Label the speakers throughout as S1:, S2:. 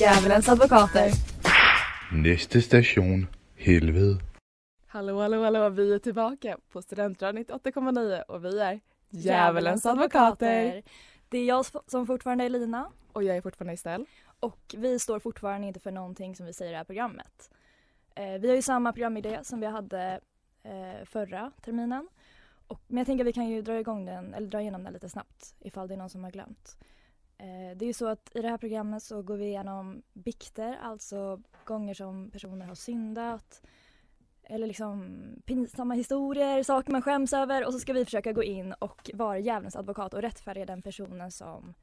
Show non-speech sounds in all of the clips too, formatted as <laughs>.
S1: Djävulens advokater.
S2: Næste station, helvede.
S3: Hallå, hallå, hallå! Vi är tillbaka på Studentradion 98,9 och vi är
S4: Det är jag s- som fortfarande är Lina
S3: Och jag är fortfarande Estelle.
S4: och vi står fortfarande inte för någonting som vi säger i det här programmet. Eh, vi har ju samma programidé som vi hade eh, förra terminen. Och, men jag tänker att vi kan ju dra igång den, eller dra igenom den lite snabbt ifall det är någon som har glömt. Eh, det är ju så att i det här programmet så går vi igenom bikter, alltså gånger som personer har syndat. Eller liksom pinsamma historier, saker man skäms över och så ska vi försöka gå in och vara djävulens advokat och rättfärdiga den personen som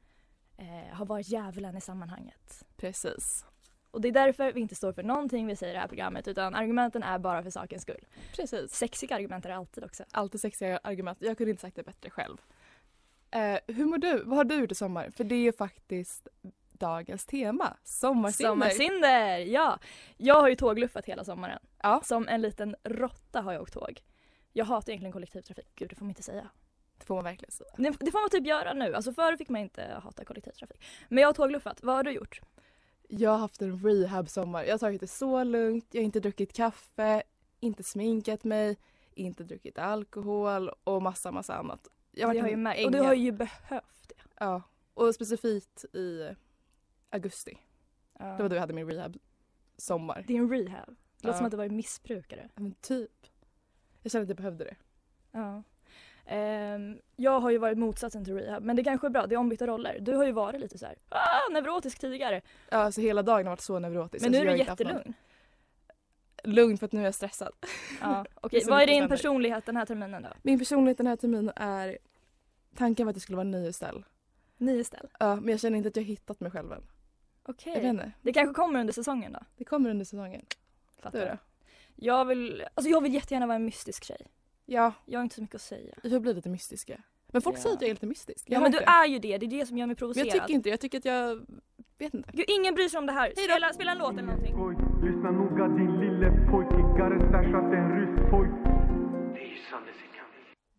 S4: eh, har varit djävulen i sammanhanget.
S3: Precis.
S4: Och det är därför vi inte står för någonting vi säger i det här programmet utan argumenten är bara för sakens skull.
S3: Precis.
S4: Sexiga argument är det alltid också.
S3: Alltid sexiga argument. Jag kunde inte sagt det bättre själv. Eh, hur mår du? Vad har du gjort i sommar? För det är ju faktiskt dagens tema. Sommarsinne.
S4: Sommarsinder! Ja! Jag har ju tågluffat hela sommaren.
S3: Ja.
S4: Som en liten råtta har jag åkt tåg. Jag hatar egentligen kollektivtrafik. Gud, det får man inte säga.
S3: Det får man verkligen säga.
S4: Det det får man typ göra nu. Alltså förr fick man inte hata kollektivtrafik. Men jag har tågluffat. Vad har du gjort?
S3: Jag har haft en rehab-sommar. Jag har tagit det så lugnt. Jag har inte druckit kaffe, inte sminkat mig, inte druckit alkohol och massa, massa annat. Jag
S4: det har
S3: en
S4: ju märkt.
S3: ängel.
S4: Och du har ju behövt det.
S3: Ja, och specifikt i augusti.
S4: Ja.
S3: Det var då jag hade min rehab-sommar.
S4: Din rehab. Det låter
S3: Ja.
S4: som att du varit missbrukare.
S3: Ja, Men typ. Jag kände att jag behövde det.
S4: Ja. Ehm, jag har ju varit motsatsen till rehab men det kanske är bra, det är ombytta roller. Du har ju varit lite så här, ah, neurotisk tidigare.
S3: Ja, alltså hela dagen har varit så neurotisk.
S4: Men nu är
S3: Alltså,
S4: du
S3: jag har inte haft någon- <laughs>
S4: jättelugn.
S3: Lugn för att nu är jag stressad.
S4: Ja,
S3: Det är
S4: okej.
S3: så
S4: Vad är
S3: mycket
S4: din
S3: som händer.
S4: personlighet den här terminen då?
S3: Min personlighet den här terminen är... Tanken var att jag skulle vara ny och snäll.
S4: Nio ställ.
S3: Ja, men jag känner inte att jag hittat mig själv än.
S4: Okej.
S3: Jag vet inte.
S4: Det kanske kommer under säsongen då?
S3: Det kommer under säsongen.
S4: Fattar.
S3: Du då?
S4: Jag vill, alltså jag vill jättegärna vara en mystisk tjej.
S3: Ja,
S4: Jag har inte så mycket att säga.
S3: jag blir lite mystiska. Men folk
S4: Ja.
S3: säger att jag är lite mystisk. Jag
S4: Ja
S3: har
S4: men du
S3: inte.
S4: är ju det, det är det som gör mig
S3: Men
S4: provocerad.
S3: jag tycker inte Jag tycker att jag... Vet inte.
S4: Gud, ingen bryr sig om det här. Spela, spela en låt eller någonting.
S5: Oj, lyssna noga din lille pojk, Gigaren stashat en rysk pojk.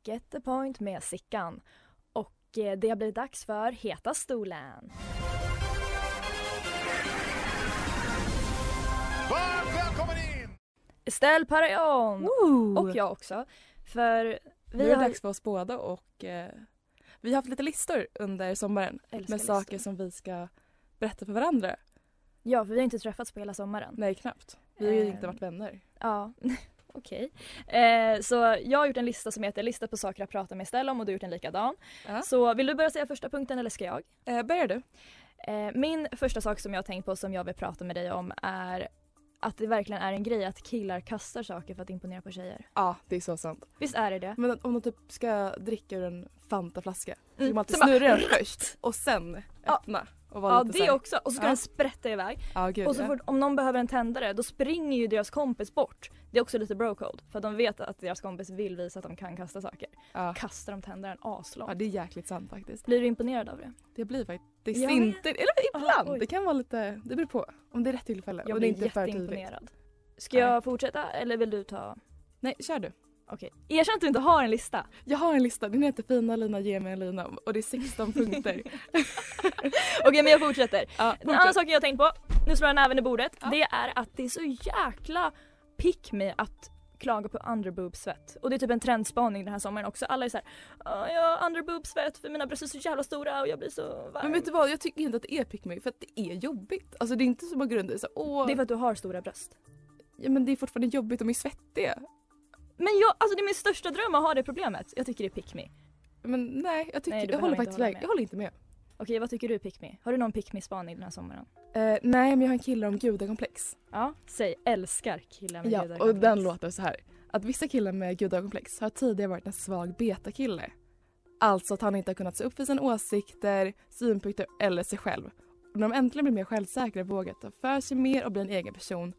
S4: Get the point med Sickan. Och eh, det blir dags för Heta stolen. Estelle Paragon!
S1: Ooh.
S4: Och jag också. För
S3: Nu är
S4: vi
S3: det
S4: har...
S3: dags för oss båda och eh, vi har haft lite listor under sommaren
S4: Älskar
S3: med
S4: listor.
S3: saker som vi ska berätta för varandra.
S4: Ja, för vi har inte träffats på hela sommaren.
S3: Nej, knappt. Vi har ju
S4: Eh.
S3: inte varit vänner.
S4: Ja, <laughs> okej. Eh, så jag har gjort en lista som heter Lista på saker jag pratar med Estelle om och du har gjort en likadan.
S3: Ja.
S4: Så vill du börja säga första punkten eller ska jag?
S3: Eh, börjar du?
S4: Eh, min första sak som jag har tänkt på som jag vill prata med dig om är att det verkligen är en grej att killar kastar saker för att imponera på tjejer.
S3: Ja, det är så sant.
S4: Visst är det det?
S3: Men att om de typ ska dricka ur en Fanta-flaska så ska
S4: Mm.
S3: man alltid
S4: Så bara-
S3: snurra den först och sen
S4: Ja.
S3: öppna. Och vara
S4: Ja
S3: lite
S4: det
S3: så här-
S4: också och så ska
S3: Ja.
S4: den sprätta iväg.
S3: Ja, gud,
S4: Och så
S3: ja.
S4: fort, om någon behöver en tändare då springer ju deras kompis bort. Det är också lite brocode för att de vet att deras kompis vill visa att de kan kasta saker.
S3: ja.
S4: Kastar de tändaren
S3: ja,
S4: aslångt.
S3: det är jäkligt sant faktiskt.
S4: Blir du imponerad av det?
S3: Det blir faktiskt
S4: Jag vet.
S3: inte... Eller ibland.
S4: oj.
S3: det kan vara lite... Det beror på. Om det är rätt tillfälle
S4: Jag
S3: och det är
S4: blir
S3: inte för tidigt.
S4: jätteimponerad. Ska jag fortsätta eller vill du ta?
S3: Nej, kör du.
S4: Okej, erkänn att du inte har en
S3: <laughs>
S4: lista.
S3: Jag har en lista. Den heter Fina Lina ge mig en lina och det
S4: <laughs>
S3: är 16 punkter.
S4: Okej men jag fortsätter.
S3: ja,
S4: Den andra saken jag har tänkt på, nu slår jag näven i bordet, det är att det är så jäkla pick me att klaga på underboobsvett. Och det är typ en trendspaning den här sommaren också. Alla är såhär, jag har underboobsvett för mina bröst är så jävla stora och jag blir så varm.
S3: Men vet du vad, jag tycker inte att det är pick me för att det är jobbigt. Alltså det är inte så man går runt och så här, åh,
S4: Det är för att du har stora bröst.
S3: ja, men det är fortfarande jobbigt, de är svettiga.
S4: Men jag, alltså det är min största dröm att ha det problemet. Jag tycker det är pick me.
S3: Men nej, jag, tycker,
S4: Nej, du behöver
S3: jag håller
S4: inte
S3: faktiskt
S4: hålla
S3: med.
S4: med.
S3: Jag håller inte med.
S4: Okej vad tycker du pick me? Har du någon pick me-spaning den här sommaren?
S3: Eh, nej, men jag har en kille om gudakomplex.
S4: Ja, säg älskar killar med
S3: Ja,
S4: gudakomplex.
S3: och den låter så här. Att vissa killar med gudakomplex har tidigare varit en svag betakille.
S6: Alltså att han inte har kunnat se upp för sina åsikter, synpunkter eller sig själv. Och när de äntligen blir mer självsäkra, vågar ta för sig mer och bli en egen person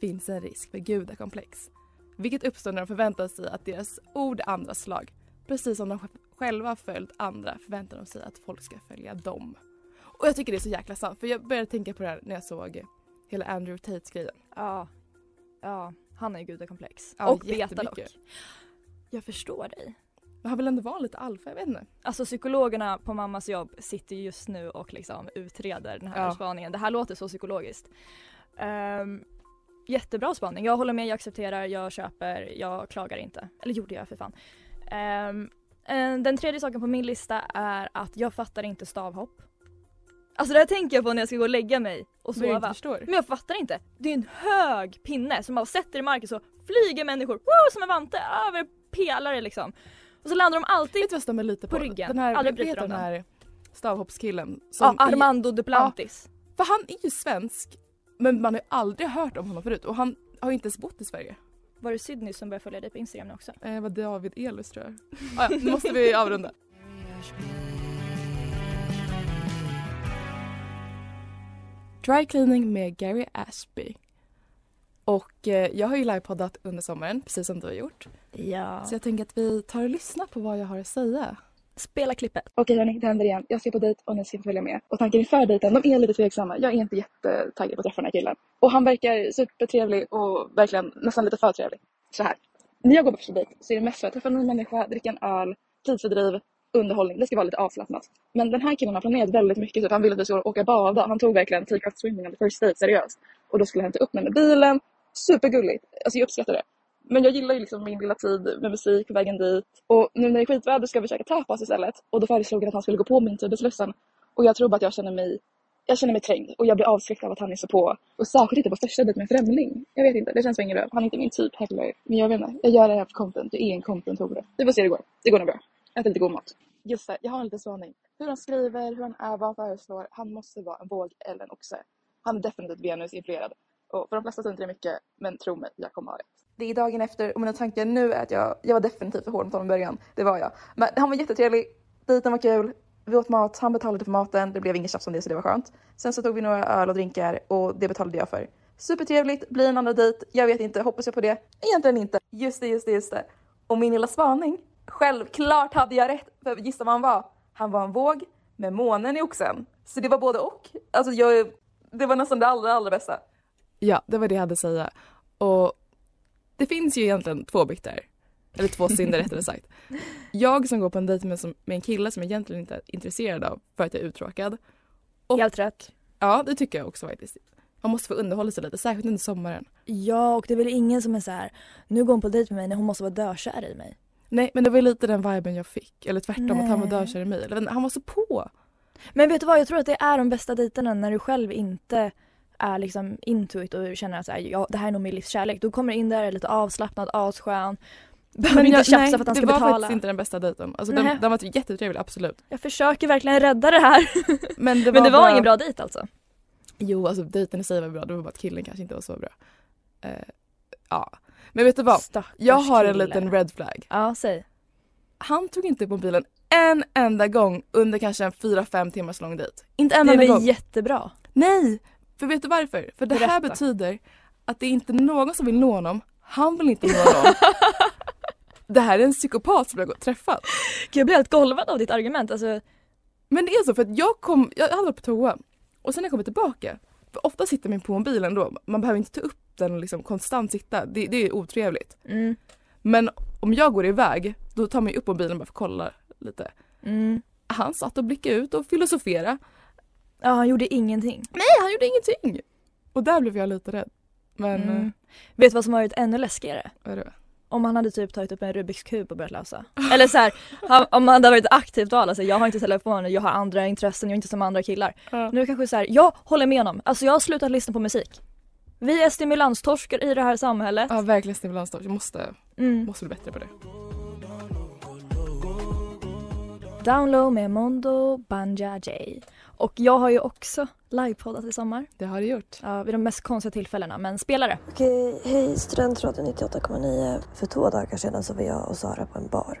S6: finns en risk för gudakomplex. Vilket uppstår när de förväntar sig att deras ord är andras lag. Precis som de sj- själva har följt andra förväntar de sig att folk ska följa dem. Och jag tycker det är så jäkla sant för jag började tänka på det här när jag såg hela Andrew Tates grejen.
S4: Ja. Ja, han är ju gudakomplex.
S6: Ja,
S4: och beta dock.
S6: jättemycket.
S4: Jag förstår dig.
S6: Men han vill ändå vara lite alfa, jag vet inte.
S4: Alltså psykologerna på mammas jobb sitter ju just nu och liksom utreder den här
S6: Ja.
S4: spaningen. Det här låter så psykologiskt. Ehm, jättebra spaning. Jag håller med, jag accepterar, jag köper, jag klagar inte. Eller gjorde jag för fan. Ehm, eh, den tredje saken på min lista är att jag fattar inte stavhopp. Alltså det här tänker jag på när jag ska gå och lägga mig och
S6: Så jag inte
S4: sova.
S6: förstår.
S4: Men jag fattar inte. Det är en hög pinne som man sätter i marken så flyger människor wow, som en vante över pelare liksom. Och så landar de alltid
S6: Vet du vad jag stämmer lite på?
S4: På ryggen.
S6: Den här,
S4: Aldrig
S6: vet
S4: bryter de
S6: den
S4: den.
S6: här stavhoppskillen.
S4: Ja,
S6: är-
S4: Armando Duplantis.
S6: För han är ju svensk men man har ju aldrig hört om honom förut och han har ju inte ens bott i Sverige.
S4: Var det Sydney som började följa dig på Instagram nu också?
S6: Eh, det var David Elus tror jag. Ah, ja, nu måste vi avrunda. Dry Cleaning med Gary Ashby. Och eh, jag har ju livepoddat under sommaren precis som du har gjort.
S4: Ja.
S6: Så jag tänker att vi tar och lyssnar på vad jag har att säga.
S4: Spela klippet.
S3: Okej hörni, det händer igen. Jag ska på dejt och ni ska inte följa med. Och tanken inför dejten, de är lite tveksamma. Jag är inte jättetaggad på att träffa den här killen. Och han verkar supertrevlig och verkligen nästan lite för trevlig. Så här. När jag går på första dejt så är det mest för att träffa en ny människa, dricka en öl, tidsfördriv, underhållning. Det ska vara lite avslappnat. Men den här killen har planerat väldigt mycket. Typ. Han ville att vi skulle åka bada. Han tog verkligen take out swimming on the first date seriöst. Och då skulle han ta upp mig med bilen. Supergulligt. Alltså jag uppskattar det. Men jag gillar ju liksom min lilla tid med musik på vägen dit. Och nu när det är skitväder ska vi käka tapas istället. Och då föreslog han att han skulle gå på min tid i Slussen. Och jag tror bara att jag känner mig jag känner mig trängd och jag blir avskräckt av att han är så på. Och särskilt inte på första dejten med en främling. Jag vet inte, det känns som ingen röv. Han är inte min typ heller. Men jag vet inte, jag gör det här för content. Jag är en content-hora. Vi får se hur det går. Det går nog bra. Jag äter lite god mat. Just det, jag har en liten spaning. Hur han skriver, hur han är, vad han föreslår. Han måste vara en våg eller en oxe. Han är definitivt Venus-influerad. Och för de flesta så är inte det mycket, men tro mig, jag kommer ha rätt. Det är dagen efter och mina tankar nu är att jag, jag var definitivt för hård mot honom i början. Det var jag. Men han var jättetrevlig, dejten var kul, vi åt mat, han betalade för maten, det blev inget tjafs om det så det var skönt. Sen så tog vi några öl och drinkar och det betalade jag för. Supertrevligt, blir en andra dejt, jag vet inte, hoppas jag på det? Egentligen inte. Just det, just det, just det. Och min lilla spaning? Självklart hade jag rätt, för gissa vad han var? Han var en våg med månen i oxen. Så det var både och. Alltså jag, det var nästan det allra, allra bästa.
S6: Ja, det var det jag hade att säga. Och det finns ju egentligen två bykter. Eller två synder
S3: <laughs>
S6: rättare sagt. Jag som går på en dejt med, som, med en kille som jag egentligen inte är intresserad av för att jag är uttråkad. Och-
S4: Helt rätt.
S6: Ja, det tycker jag också faktiskt. Man måste få underhålla sig lite, särskilt under sommaren.
S4: Ja, och det är väl ingen som är så här. nu går hon på dejt med mig när hon måste vara dökär i mig.
S6: Nej, men det var ju lite den viben jag fick. Eller tvärtom, att han var
S4: Nej.
S6: dökär i mig. Eller, han var så på.
S4: Men vet du vad, jag tror att det är de bästa dejterna när du själv inte är liksom intuit och känner att så här, ja, det här är nog min livskärlek. Du kommer in där lite avslappnad, asskön. Behöver inte tjafsa
S6: nej,
S4: för att han ska
S6: Det var
S4: betala.
S6: faktiskt inte den bästa dejten. Alltså,
S4: Nej.
S6: den, den var jättetrevlig, absolut.
S4: Jag försöker verkligen rädda det här.
S6: Men det var,
S4: Men det var
S6: bara...
S4: ingen bra dejt alltså.
S6: Jo, alltså dejten i sig var bra. Det var bara att killen kanske inte var så bra. Eh, ja. Men vet du vad?
S4: Stackars
S6: Jag har en
S4: kille.
S6: liten red flag.
S4: Ja, säg.
S6: Han tog inte upp mobilen en enda gång under kanske en 4-5 timmars lång dejt. Inte en
S4: Det är
S6: enda
S4: väl
S6: gång.
S4: jättebra.
S6: Nej! För vet du varför? För det
S4: Berätta.
S6: här betyder att det är inte någon som vill nå honom. Han vill inte nå
S4: <laughs>
S6: någon. det här är en psykopat som jag har gått- träffat.
S4: Gud, jag blir helt golvad av ditt argument. Alltså,
S6: Men det är så för att jag kom, jag hade varit på toa och sen när jag kommer tillbaka, för ofta sitter man på mobilen då, man behöver inte ta upp den och liksom konstant sitta, det, det är otrevligt.
S4: mm,
S6: Men om jag går iväg, då tar man ju upp mobilen bara för att kolla lite.
S4: mm.
S6: Han satt och blickade ut och filosoferade.
S4: Ja, han gjorde ingenting.
S6: Nej, han gjorde ingenting! Och där blev jag lite rädd. Men, eh,
S4: Mm. Vet du vad som har varit ännu läskigare?
S3: eh,
S6: vad är det?
S4: Om han hade typ tagit upp en Rubiks kub och börjat
S6: <laughs>
S4: lösa. Eller så här, han, om han hade varit aktivt val, alltså jag har inte telefonen, jag har andra intressen, jag är inte som andra killar.
S6: Ja.
S4: Nu kanske så här, jag håller med honom, alltså jag har slutat lyssna på musik. Vi är stimulanstorskar i det här samhället.
S6: Ja, verkligen stimulansdag. Jag måste,
S4: Mm.
S6: måste bli bättre på det.
S4: Download med Mondo Banja J. Och jag har ju också livepoddat i sommar.
S3: Det har du gjort.
S4: Ja, vid de mest konstiga tillfällena, men spelare.
S7: Okej, hej Studentradion 98,9. För två dagar sedan så var jag och Sara på en bar.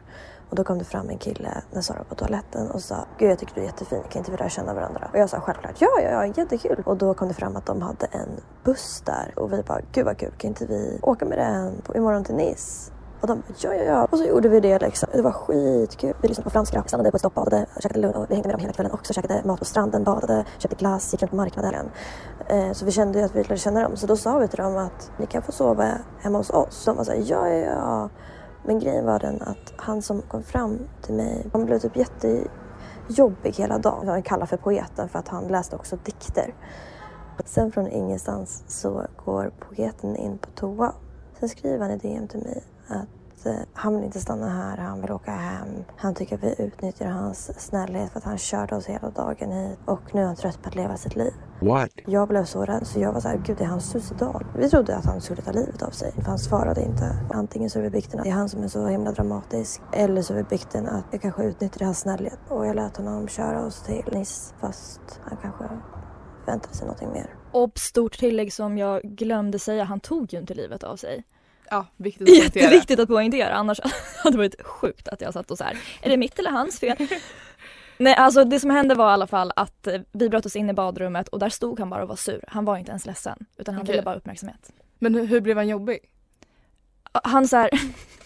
S7: Och då kom det fram en kille när Sara var på toaletten och sa Gud jag tycker du är jättefin, kan inte vi lära känna varandra? Och jag sa självklart ja, ja, ja, jättekul. Och då kom det fram att de hade en buss där och vi bara Gud vad kul, kan inte vi åka med den på, imorgon till Nice? Och de bara, ja, ja, ja. Och så gjorde vi det liksom. Det var skitkul. Vi lyssnade på flamska, stannade på ett stopp, badade, käkade lunch och vi hängde med dem hela kvällen också. Käkade mat på stranden, badade, köpte glass, gick runt på marknaden. Eh, så vi kände ju att vi lärde känna dem. Så då sa vi till dem att ni kan få sova hemma hos oss. De var så här, ja, ja, ja. Men grejen var den att han som kom fram till mig, han blev typ jättejobbig hela dagen. Han kallade för poeten för att han läste också dikter. Sen från ingenstans så går poeten in på toa. Sen skriver han i DM till mig att eh, han vill inte stanna här, han vill åka hem. Han tycker att vi utnyttjar hans snällhet för att han körde oss hela dagen hit och nu är han trött på att leva sitt liv.
S2: What?
S7: Jag blev så rädd så jag var så här, gud är han suicidal? Vi trodde att han skulle ta livet av sig. För han svarade inte. Antingen så är det bikten att det är han som är så himla dramatisk. Eller så är det bikten att jag kanske utnyttjade hans snällhet. Och jag lät honom köra oss till Nice. Fast han kanske väntade sig någonting mer.
S4: Och stort tillägg som jag glömde säga, han tog ju inte livet av sig.
S3: Ja, viktigt att poängtera.
S4: Jätteviktigt att poängtera, annars <laughs> hade det varit sjukt att jag satt och så här. är det mitt eller hans fel?
S3: <laughs>
S4: Nej, alltså det som hände var i alla fall att eh, vi bröt oss in i badrummet och där stod han bara och var sur. Han var inte ens ledsen, utan han
S3: Okej.
S4: ville bara ha uppmärksamhet.
S3: Men hur, hur blev han jobbig?
S4: Han så här, <laughs>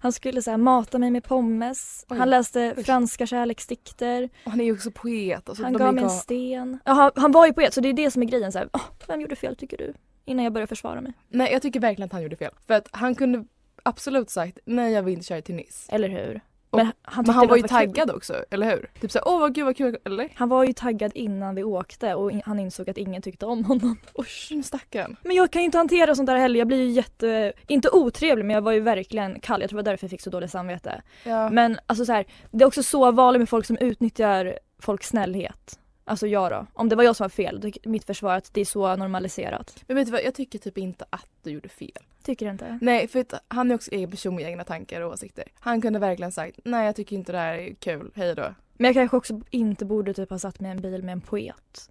S4: han skulle så här mata mig med pommes,
S3: Oj.
S4: han läste
S3: Oj.
S4: franska kärleksdikter,
S3: Och han är ju också poet. Alltså,
S4: han
S3: de
S4: gav
S3: är
S4: mig en
S3: gal-
S4: sten. Ja, han, han var ju poet, så det är det som är grejen. Så här, "Åh, vem gjorde fel tycker du? Innan jag började försvara mig.
S3: Nej, jag tycker verkligen att han gjorde fel. För att han kunde absolut sagt nej, jag vill inte köra till Nice.
S4: Eller hur?
S3: Och-
S4: han, tyckte
S3: Men han
S4: det
S3: var ju
S4: kul.
S3: taggad också, eller hur? Typ såhär, åh vad gud vad kul, eller?
S4: Han var ju taggad innan vi åkte och in- han insåg att ingen tyckte om honom.
S3: Usch, men Mm, stackarn.
S4: <laughs> Men jag kan ju inte hantera sånt där heller. Jag blir ju jätte, inte otrevlig men jag var ju verkligen kall. Jag tror det var därför jag fick så dåligt samvete.
S3: Ja.
S4: Men alltså så här, det är också så vanligt med folk som utnyttjar folks snällhet. Alltså jag då. Om det var jag som var fel, då- mitt försvar är att det är så normaliserat.
S3: Men vet du vad, jag tycker typ inte att du gjorde fel.
S4: Tycker du inte?
S3: Nej, för att han är också egen person med egna tankar och åsikter. Han kunde verkligen sagt, nej jag tycker inte det här är kul, hej då.
S4: Men jag kanske också inte borde typ ha satt mig i en bil med en poet.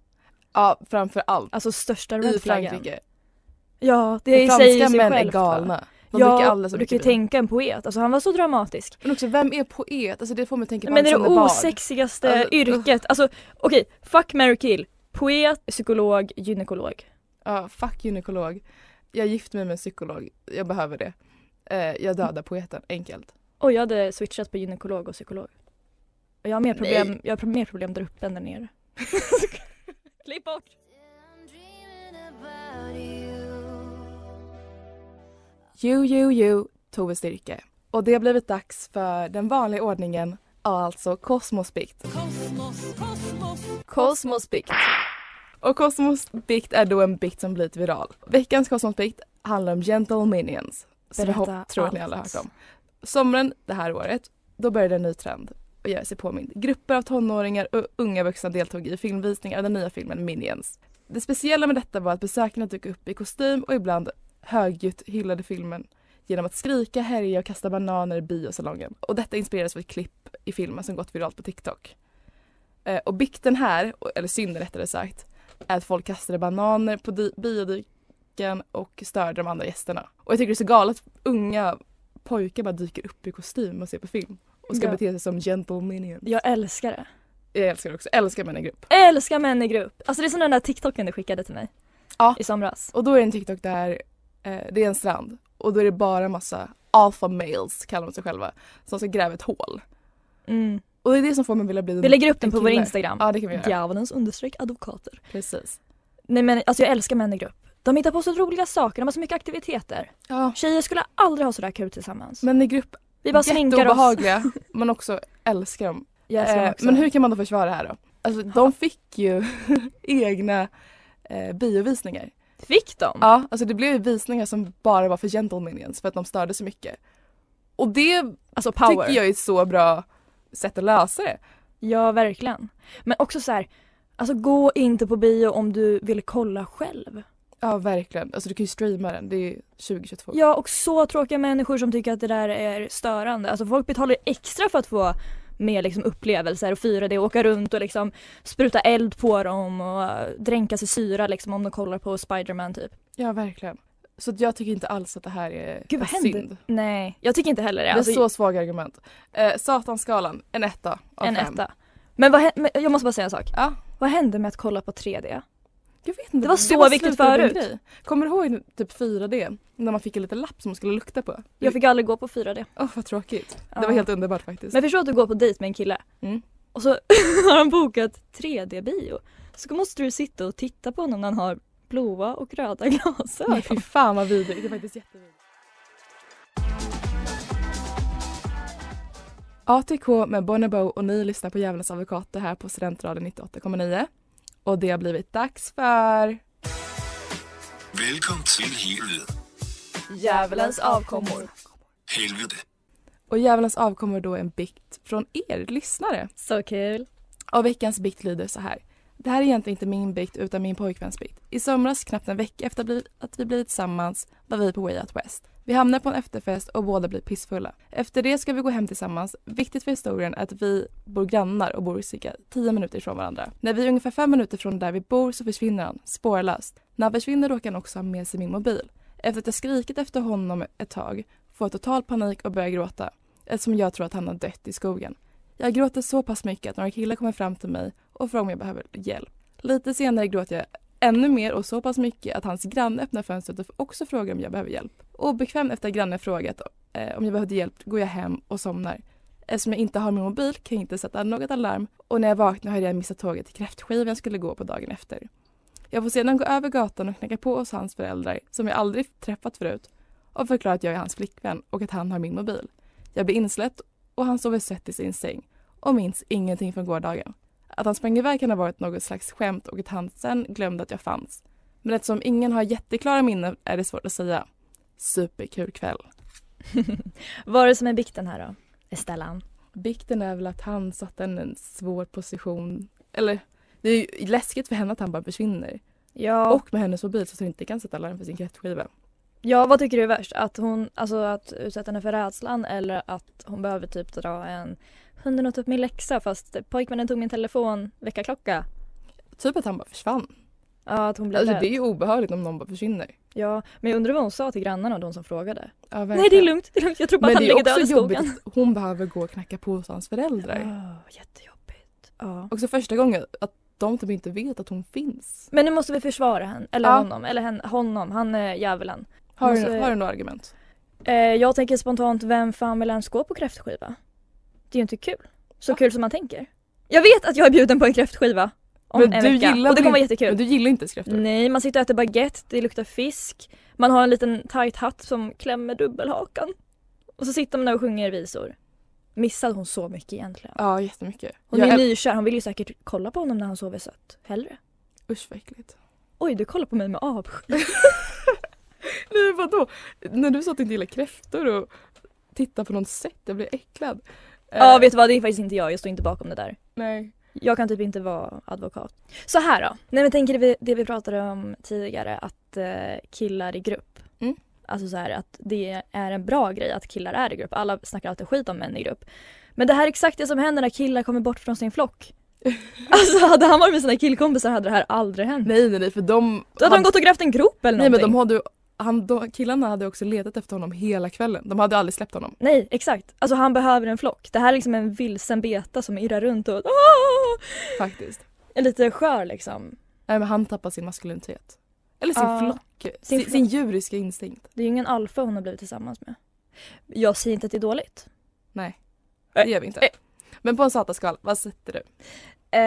S3: Ja, framför allt
S4: Alltså största
S3: i
S4: red flaggen.
S3: Frankrike.
S4: Ja, det
S3: Det
S4: säger ju
S3: franska
S4: sig
S3: män
S4: självt.
S3: är
S4: va?
S3: galna. De dricker
S4: Ja,
S3: alldeles för
S4: du kan ju
S3: mycket vin.
S4: tänka en poet. Alltså han var så dramatisk.
S3: Men också, vem är poet? Alltså det får mig att tänka på
S4: Men det är det
S3: Alexander Bard.
S4: osexigaste
S3: Alltså,
S4: yrket. Alltså okej, fuck, marry, kill. Poet, psykolog, gynekolog.
S3: Ja, fuck gynekolog. Jag gifter mig med en psykolog. Jag behöver det. Eh, jag dödar poeten, enkelt.
S4: Oj, jag hade switchat på gynekolog och psykolog. Och jag har mer problem, jag har pro- mer problem där uppe än där <laughs> nere. Klipp bort!
S3: You, you, you, Tove Styrke. Och det har blivit dags för den vanliga ordningen, alltså Kosmosbikt. Kosmosbikt. Och Kosmosbikt är då en bikt som blivit viral. Veckans Kosmosbikt handlar om Gentle Minions. Som jag
S4: Berätta
S3: hop- tror att ni alla har
S4: allt.
S3: hört om. Sommaren det här året, då började en ny trend och göra sig påmind. Grupper av tonåringar och unga vuxna deltog i filmvisningar av den nya filmen Minions. Det speciella med detta var att besökarna dök upp i kostym och ibland högljutt hyllade filmen genom att skrika, härja och kasta bananer i biosalongen. Och detta inspirerades av ett klipp i filmen som gått viralt på TikTok. Eh, och bikten här, och- eller synden rättare sagt, är att folk kastade bananer på di- biodyken och störde de andra gästerna. Och jag tycker det är så galet att unga pojkar bara dyker upp i kostym och ser på film och ska
S4: Ja.
S3: bete sig som gentle minions.
S4: Jag älskar det.
S3: Jag älskar det också, älskar mina grupp.
S4: Älskar män i grupp. Alltså det är som den där TikToken du skickade till mig.
S3: Ja.
S4: I somras.
S3: Och då är det en TikTok där eh, det är en strand och då är det bara massa alpha males kallar de sig själva som ska gräva ett hål.
S4: Mm.
S3: Och det är det som får mig vilja bli en
S4: Vi lägger upp den
S3: en
S4: på vår
S3: kille.
S4: Instagram.
S3: Ja det kan vi göra.
S4: Djävulens understreck advokater.
S3: Precis.
S4: Nej men alltså jag älskar män i grupp. De hittar på så roliga saker, de har så mycket aktiviteter.
S3: Ja.
S4: Tjejer skulle aldrig ha sådär kul tillsammans.
S3: Men i grupp,
S4: Vi bara sminkar oss.
S3: jätteobehagliga men också älskar dem.
S4: Jag älskar dem
S3: Eh,
S4: också.
S3: men hur kan man då försvara det här då? Alltså de fick ju <laughs> egna eh, biovisningar.
S4: Fick de?
S3: Ja, alltså det blev ju visningar som bara var för gentle minions för att de störde så mycket. Och det
S4: Alltså power.
S3: tycker jag är ett så bra sätt att lösa det.
S4: Ja, verkligen. Men också så här, alltså gå inte på bio om du vill kolla själv.
S3: Ja verkligen, alltså du kan ju streama den, det är 2022.
S4: Ja, och så tråkiga människor som tycker att det där är störande. Alltså folk betalar ju extra för att få med liksom upplevelser och fira det och åka runt och liksom spruta eld på dem och eh, dränkas i syra liksom om de kollar på Spiderman typ.
S3: Ja, verkligen. Så att jag tycker inte alls att det här är
S4: Gud, vad
S3: en
S4: händer?
S3: synd.
S4: Nej, jag tycker inte heller det.
S3: Det är
S4: Alltså,
S3: så svaga argument. Eh, Satanskalan, en etta av
S4: en
S3: fem.
S4: etta. Men, vad, hä- men jag måste bara säga en sak.
S3: Ja.
S4: Vad hände med att kolla på 3D?
S3: Jag vet inte.
S4: Det var så viktigt
S3: slut av en
S4: förut.
S3: grej. Kommer du ihåg typ 4D? När man fick en liten lapp som man skulle lukta på.
S4: Jag fick aldrig gå på 4D.
S3: Åh vad tråkigt.
S4: Ja.
S3: Det var helt underbart faktiskt.
S4: Men förstå att du går på dejt med en kille
S3: Mm.
S4: och så <laughs> har han bokat 3D-bio. Så måste du sitta och titta på honom när han har blåa och röda <laughs>
S3: Nej,
S4: glasögon.
S3: fy fan vad vidrigt. Det är faktiskt jättevidrigt. ATK med Bonobo och ni lyssnar på Djävulens advokater här på Studentradion 98,9. Och det har blivit dags för
S8: Velkommen til helvede.
S3: Djävulens avkommor.
S8: Helvede.
S3: Och Djävulens avkommor då är en bikt från er lyssnare.
S4: Så kul.
S3: Och veckans bikt lyder så här. Det här är egentligen inte min bikt utan min pojkväns bikt. I somras, knappt en vecka efter bli- att vi blivit tillsammans, var vi på Way Out West. Vi hamnar på en efterfest och båda blir pissfulla. Efter det ska vi gå hem tillsammans. Viktigt för historien är att vi bor grannar och bor cirka 10 minuter ifrån varandra. När vi är ungefär 5 minuter från där vi bor så försvinner han, spårlöst. När han försvinner råkar han också ha med sig min mobil. Efter att jag skrikit efter honom ett tag får jag total panik och börjar gråta eftersom jag tror att han har dött i skogen. Jag gråter så pass mycket att några killar kommer fram till mig och frågar om jag behöver hjälp. Lite senare gråter jag ännu mer och så pass mycket att hans granne öppnar fönstret och också frågar om jag behöver hjälp. Obekvämt efter att grannen frågat eh, om jag behövde hjälp går jag hem och somnar. Eftersom jag inte har min mobil kan jag inte sätta något alarm och när jag vaknar har jag redan missat tåget till kräftskivan jag skulle gå på dagen efter. Jag får sedan gå över gatan och knacka på hos hans föräldrar som jag aldrig träffat förut och förklara att jag är hans flickvän och att han har min mobil. Jag blir insläppt och han sover sött i sin säng och minns ingenting från gårdagen. Att han sprang iväg kan ha varit något slags skämt och att han sen glömde att jag fanns. Men eftersom ingen har jätteklara minnen är det svårt att säga. Superkul kväll.
S4: Vad är det som är bikten här då? Estellan.
S3: Bikten är väl att han satte en en svår position. Eller, det är ju läskigt för henne att han bara försvinner.
S4: Ja.
S3: Och med hennes mobil så att hon inte kan sätta larm för sin kräftskiva.
S4: ja, vad tycker du är värst? Att hon, alltså att utsätta henne för rädslan eller att hon behöver typ dra en hunden åt upp min läxa fast pojkvännen tog min telefon, väckarklocka.
S3: Typ att han bara försvann.
S4: Ja, att hon blev
S3: Alltså,
S4: rädd.
S3: det är ju obehagligt om någon bara försvinner.
S4: Ja, men jag undrar vad hon sa till grannarna och de som frågade.
S3: Ja,
S4: Nej, det är
S3: verkligen.
S4: lugnt, det är lugnt. Jag tror bara
S3: Men
S4: att han
S3: det
S4: ligger
S3: är
S4: död i
S3: också jobbigt
S4: skogen.
S3: att hon behöver gå och knacka på hos hans föräldrar.
S4: Oh, jättejobbigt. Ja.
S3: Också första gången att de typ inte vet att hon finns.
S4: Men nu måste vi försvara henne, eller
S3: Ja.
S4: honom, eller hen, honom, han är djävulen.
S3: Har,
S4: Måste
S3: du,
S4: vi-
S3: har du några argument?
S4: Eh, jag tänker spontant, vem fan vill ens gå på kräftskiva? Det är ju inte kul. Så kul som man tänker. Jag vet att jag är bjuden på en kräftskiva om
S3: Men
S4: en
S3: du
S4: vecka
S3: gillar
S4: och det kommer vara
S3: väl
S4: jättekul.
S3: Men du gillar inte skräftor?
S4: Nej, man sitter och äter baguette, det luktar fisk, man har en liten tight hatt som klämmer dubbelhakan. Och så sitter man där och sjunger visor. Missade hon så mycket egentligen?
S3: Ja, jättemycket.
S4: Hon
S3: jag
S4: är
S3: äl-
S4: nykär, hon vill ju säkert kolla på honom när han sover sött. Hellre.
S3: Usch vad äckligt.
S4: Oj, du kollar på mig med
S3: Eh.
S4: avsky.
S3: Nej vadå? När du sa att du inte gillar kräftor och tittar på något sätt, jag blir äcklad. Eh,
S4: Ja, vet du vad, det är faktiskt inte jag, jag står inte bakom det där.
S3: Nej.
S4: Jag kan typ inte vara advokat. Så här då. Nej men tänker det vi, det vi pratade om tidigare att eh, killar i grupp.
S3: Mm.
S4: Alltså så här att det är en bra grej att killar är i grupp. Alla snackar alltid skit om män i grupp. Men det här är exakt det som händer när killar kommer bort från sin
S3: <laughs>
S4: flock. alltså hade han varit med sina killkompisar hade det här aldrig hänt.
S3: Nej nej nej för de...
S4: Då hade de gått och grävt en grop eller
S3: Nej men
S4: någonting.
S3: de hade han, de, killarna hade också letat efter honom hela kvällen. De hade aldrig släppt honom.
S4: Nej, exakt. Alltså han behöver en flock. Det här är liksom en vilsen beta som irrar runt och Aah!
S3: Faktiskt.
S4: är lite skör liksom.
S3: Nej men han tappar sin maskulinitet. Eller sin
S4: Ja.
S3: flock.
S4: Sin
S3: Sin, sin djuriska instinkt.
S4: Det är ju ingen alfa hon har blivit tillsammans med. Jag säger inte att det är dåligt.
S3: Nej.
S4: Nej.
S3: Det gör vi inte.
S4: Nej.
S3: Men på en satanskala, vad sätter du?
S4: Eh,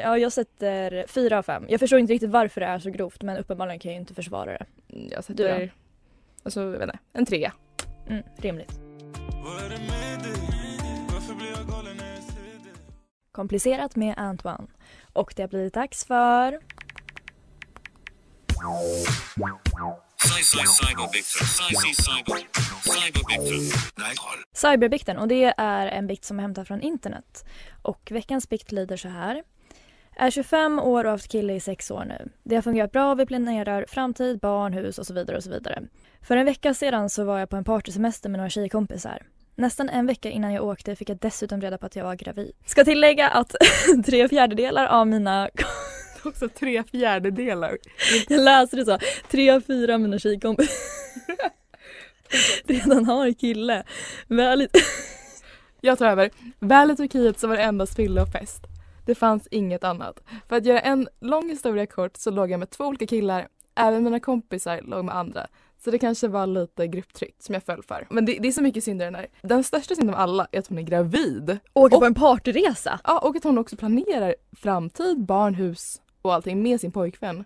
S4: ja, jag sätter fyra av fem. Jag förstår inte riktigt varför det är så grovt men uppenbarligen kan jag ju inte försvara det.
S3: Mm, Jag
S4: Du
S3: sätter... Alltså, jag vet inte, en trea.
S4: Mm, rimligt. Komplicerat med Antoine. Och det har blivit dags för...
S8: Sej, sej, cyberbikter. Sej, sej, cyber. Cyberbikter. Nej, hold.
S4: Cyberbikten och det är en bikt som är hämtad från internet. Och veckans bikt lyder så här. Är 25 år och haft kille i 6 år nu. Det har fungerat bra, vi planerar framtid, barn, hus och så vidare och så vidare. För en vecka sedan så var jag på en partysemester med några tjejkompisar. Nästan en vecka innan jag åkte fick jag dessutom reda på att jag var gravid. Ska tillägga att <laughs> tre fjärdedelar av mina <laughs>
S3: Också tre fjärdedelar.
S4: Jag läser det så. Tre av fyra av mina
S3: <laughs>
S4: tjejkompisar redan har kille. Väl...
S3: Jag tar över. Väl i Turkiet så var det endast fylla och fest. Det fanns inget annat. För att göra en lång historia kort så låg jag med två olika killar. Även mina kompisar låg med andra. Så det kanske var lite grupptryck som jag föll för. Men det, det är så mycket synder i den här. Den största synden av alla är att hon är gravid.
S4: Åka
S3: på
S4: en partyresa.
S3: Ja, och att hon också planerar framtid, barn, hus och allting med sin pojkvän.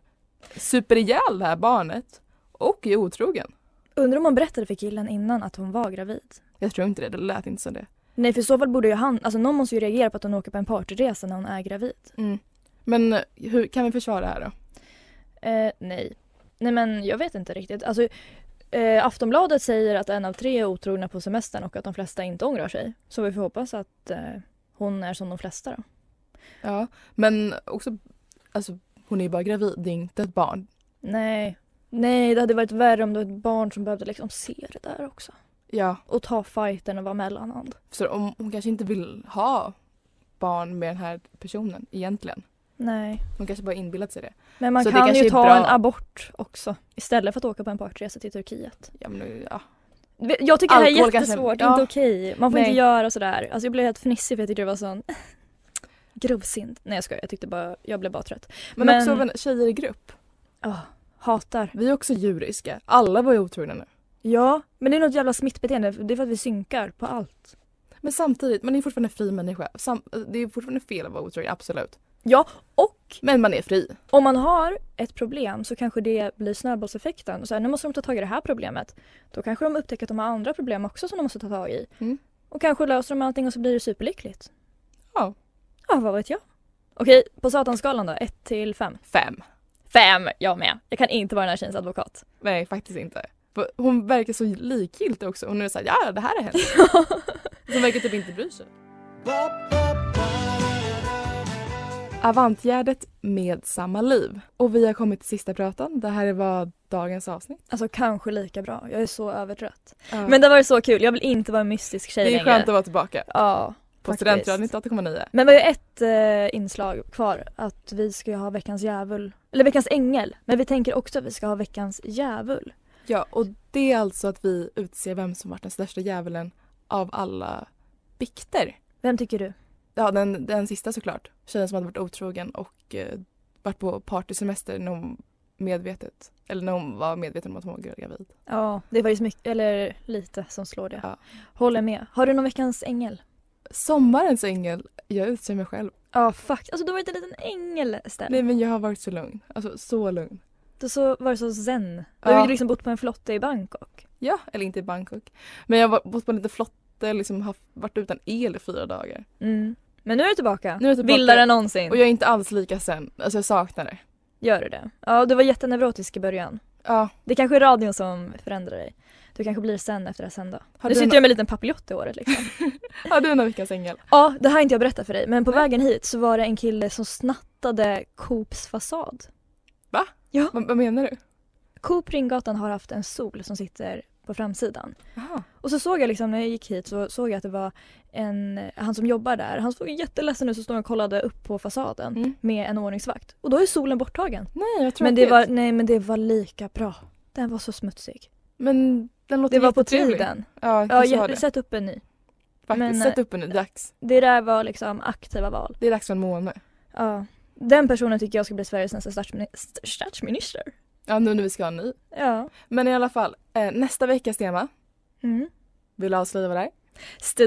S3: Super ihjäl det här barnet. Och är otrogen.
S4: Undrar om hon berättade för killen innan att hon var gravid.
S3: Jag tror inte det, det lät inte som det.
S4: Nej för i så fall borde ju han, alltså någon måste ju reagera på att hon åker på en partyresa när hon är gravid.
S3: Men eh, hur kan vi försvara det här då?
S4: Eh, nej. Nej men jag vet inte riktigt. Alltså, eh, Aftonbladet säger att en av tre är otrogna på semestern och att de flesta inte ångrar sig. Så vi får hoppas att eh, hon är som de flesta då.
S3: Ja, men också, alltså hon är ju bara gravid, det är inte ett barn.
S4: Nej. Nej, det hade varit värre om det var ett barn som behövde liksom se det där också.
S3: Ja,
S4: Och ta fighten och vara mellanhand.
S3: så om hon kanske inte vill ha barn med den här personen egentligen.
S4: Nej.
S3: Hon kanske bara inbillat sig det.
S4: Men man
S3: Så det
S4: kan
S3: kanske
S4: ju
S3: är
S4: ta
S3: bra-
S4: en abort också. Istället för att åka på en partresa till Turkiet.
S3: Ja, men, nu- ja.
S4: Jag tycker det här
S3: Alkohol
S4: är
S3: kanske-
S4: jättesvårt,
S3: ja.
S4: inte okej. Man får
S3: Nej.
S4: inte göra sådär. Alltså jag blev helt fnissig för jag tyckte det var sån <laughs> grovsint. Nej jag skojar, jag tyckte bara, jag blev bara trött.
S3: men,
S4: Men-
S3: också även tjejer i grupp.
S4: Åh, hatar.
S3: Vi är också djuriska. Alla var ju otrogna nu.
S4: Ja, men det är något jävla smittbeteende. Det är för att vi synkar på allt.
S3: Men samtidigt, man är fortfarande en fri människa. Sam- det är fortfarande fel att vara otrogen, absolut.
S4: Ja, och
S3: Men man är fri.
S4: om man har ett problem så kanske det blir snöbollseffekten. Och Så här, nu måste de ta tag i det här problemet. Då kanske de upptäcker att de har andra problem också som de måste ta tag i.
S3: Mm.
S4: Och kanske löser de allting och så blir det superlyckligt.
S3: Ja.
S4: Ja, vad vet jag. Okej, på satanskalan då. 1 till 5.
S3: Fem.
S4: Fem, jag med. Jag kan inte vara den här tjejens advokat.
S3: Nej, faktiskt inte. För Hon verkar så likgiltig också. Hon är såhär, ja det här har hänt. Hon verkar typ inte bry sig. Avantgärdet med samma liv. Och vi har kommit till sista pratan. Det här var dagens avsnitt.
S4: Alltså kanske lika bra. Jag är så övertrött.
S3: Ja.
S4: Men det var ju så kul. Jag vill inte vara en mystisk tjej
S3: det
S4: längre.
S3: är skönt att vara tillbaka
S4: Ja.
S3: på
S4: faktiskt.
S3: Studentradion 98,9.
S4: Men vi har ju ett eh, inslag kvar. Att vi ska ju ha veckans djävul. Eller veckans ängel. Men vi tänker också att vi ska ha veckans djävul.
S3: Ja, och det är alltså att vi utser vem som varit den största djävulen av alla bikter.
S4: Vem tycker du?
S3: Ja, den, den sista såklart. Tjejen som hade varit otrogen och eh, varit på partysemester när hon medvetet, eller när hon var medveten om att hon var gravid.
S4: Ja, det var ju så mycket, eller lite som slår det.
S3: Ja.
S4: Håller med. Har du någon veckans ängel?
S3: Sommarens ängel, jag utser mig själv.
S4: Ja, fuck. Alltså du var inte en liten ängel istället.
S3: Nej men jag har varit så lugn, alltså så lugn.
S4: Då så var det så zen. Du
S3: Ja.
S4: har ju liksom bott på en flotte i Bangkok.
S3: Ja, eller inte i Bangkok. Men jag har bott på en liten flotte, liksom haft, varit utan el i fyra dagar.
S4: Mm. Men nu är du tillbaka.
S3: Nu är jag tillbaka.
S4: Vildare än någonsin.
S3: Och jag är inte alls lika sen, alltså jag saknar det.
S4: Gör du det? Ja, du var jätteneurotisk i början.
S3: Ja,
S4: Det kanske är radion som förändrar dig. Du kanske blir sen efter det här sen då.
S3: Har
S4: nu
S3: du
S4: sitter
S3: en-
S4: jag med en liten papiljott i håret liksom.
S3: har du någon veckans ängel?
S4: <laughs> ja, det här har inte jag berättat för dig men på vägen hit så var det en kille som snattade Coops fasad.
S3: Vad, vad menar du?
S4: Coop Ringgatan har haft en sol som sitter på framsidan.
S3: Jaha.
S4: Och så såg jag liksom när jag gick hit så såg jag att det var en, han som jobbar där, han såg jätteledsen ut så stod han och kollade upp på fasaden
S3: Mm.
S4: med en ordningsvakt. Och då är solen borttagen.
S3: Nej, jag tror
S4: Men det, var, nej, men det var lika bra. Den var så smutsig.
S3: Men den låter
S4: Det var på
S3: jättetrevlig.
S4: tiden.
S3: Ja, jag
S4: Ja,
S3: kanske har
S4: jag,
S3: det.
S4: sätt upp en ny.
S3: Faktiskt,
S4: men- eh,
S3: sätt upp en ny. Dags.
S4: Det där var liksom aktiva val.
S3: Det är dags för en måne.
S4: Ja. Den personen tycker jag ska bli Sveriges nästa statsmin- st- statsminister.
S3: Ja, nu när vi ska ha en ny.
S4: Ja.
S3: Men i alla fall, eh, nästa veckas tema.
S4: Mm.
S3: Vill du avslöja vad det är?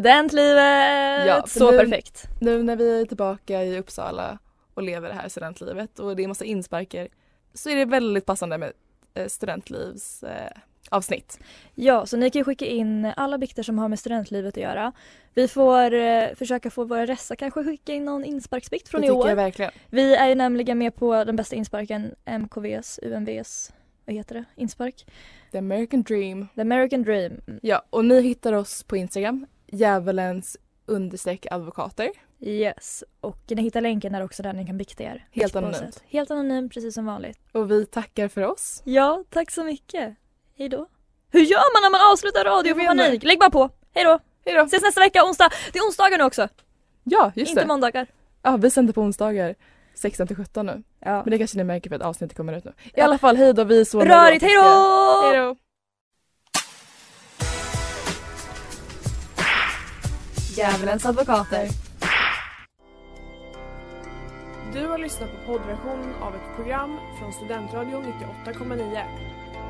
S4: Studentlivet!
S3: Ja, för
S4: så
S3: nu-
S4: perfekt.
S3: Nu när vi är tillbaka i Uppsala och lever det här studentlivet och det är massa insparker så är det väldigt passande med eh, studentlivs eh, avsnitt.
S4: Ja, så ni kan ju skicka in alla bikter som har med studentlivet att göra. Vi får eh, försöka få våra ressa kanske skicka in någon insparksbikt från
S3: det
S4: i
S3: tycker jag
S4: år.
S3: verkligen.
S4: Vi är ju nämligen med på den bästa insparken, MKVs, UMVs, vad heter det, inspark?
S3: The American dream.
S4: The American Dream. Mm.
S3: Ja, och ni hittar oss på Instagram, djävulens understreck advokater.
S4: Yes, och ni hittar länken där också där ni kan bikta er.
S3: Helt
S4: På något
S3: anonymt.
S4: sätt. Helt anonymt, precis som vanligt.
S3: Och vi tackar för oss.
S4: Ja, tack så mycket. Hej då. Hur gör man när man avslutar radio
S3: Jag
S4: för
S3: menar-
S4: panik? Lägg bara på. Hej då.
S3: Hejdå.
S4: Ses nästa vecka, onsdag. Det är onsdagar nu också.
S3: Ja, just
S4: inte
S3: det.
S4: måndagar.
S3: Ja, vi sänder på onsdagar 16 till 17 nu.
S4: Ja.
S3: Men det kanske ni märker för att avsnittet kommer ut nu. I
S4: Ja.
S3: alla fall, hej då, vi är så
S4: Rörigt, hej
S3: neurotiska.
S4: då!
S3: Hej då!
S4: Djävulens advokater.
S9: Du har lyssnat på poddversion av ett program från Studentradion 98,9.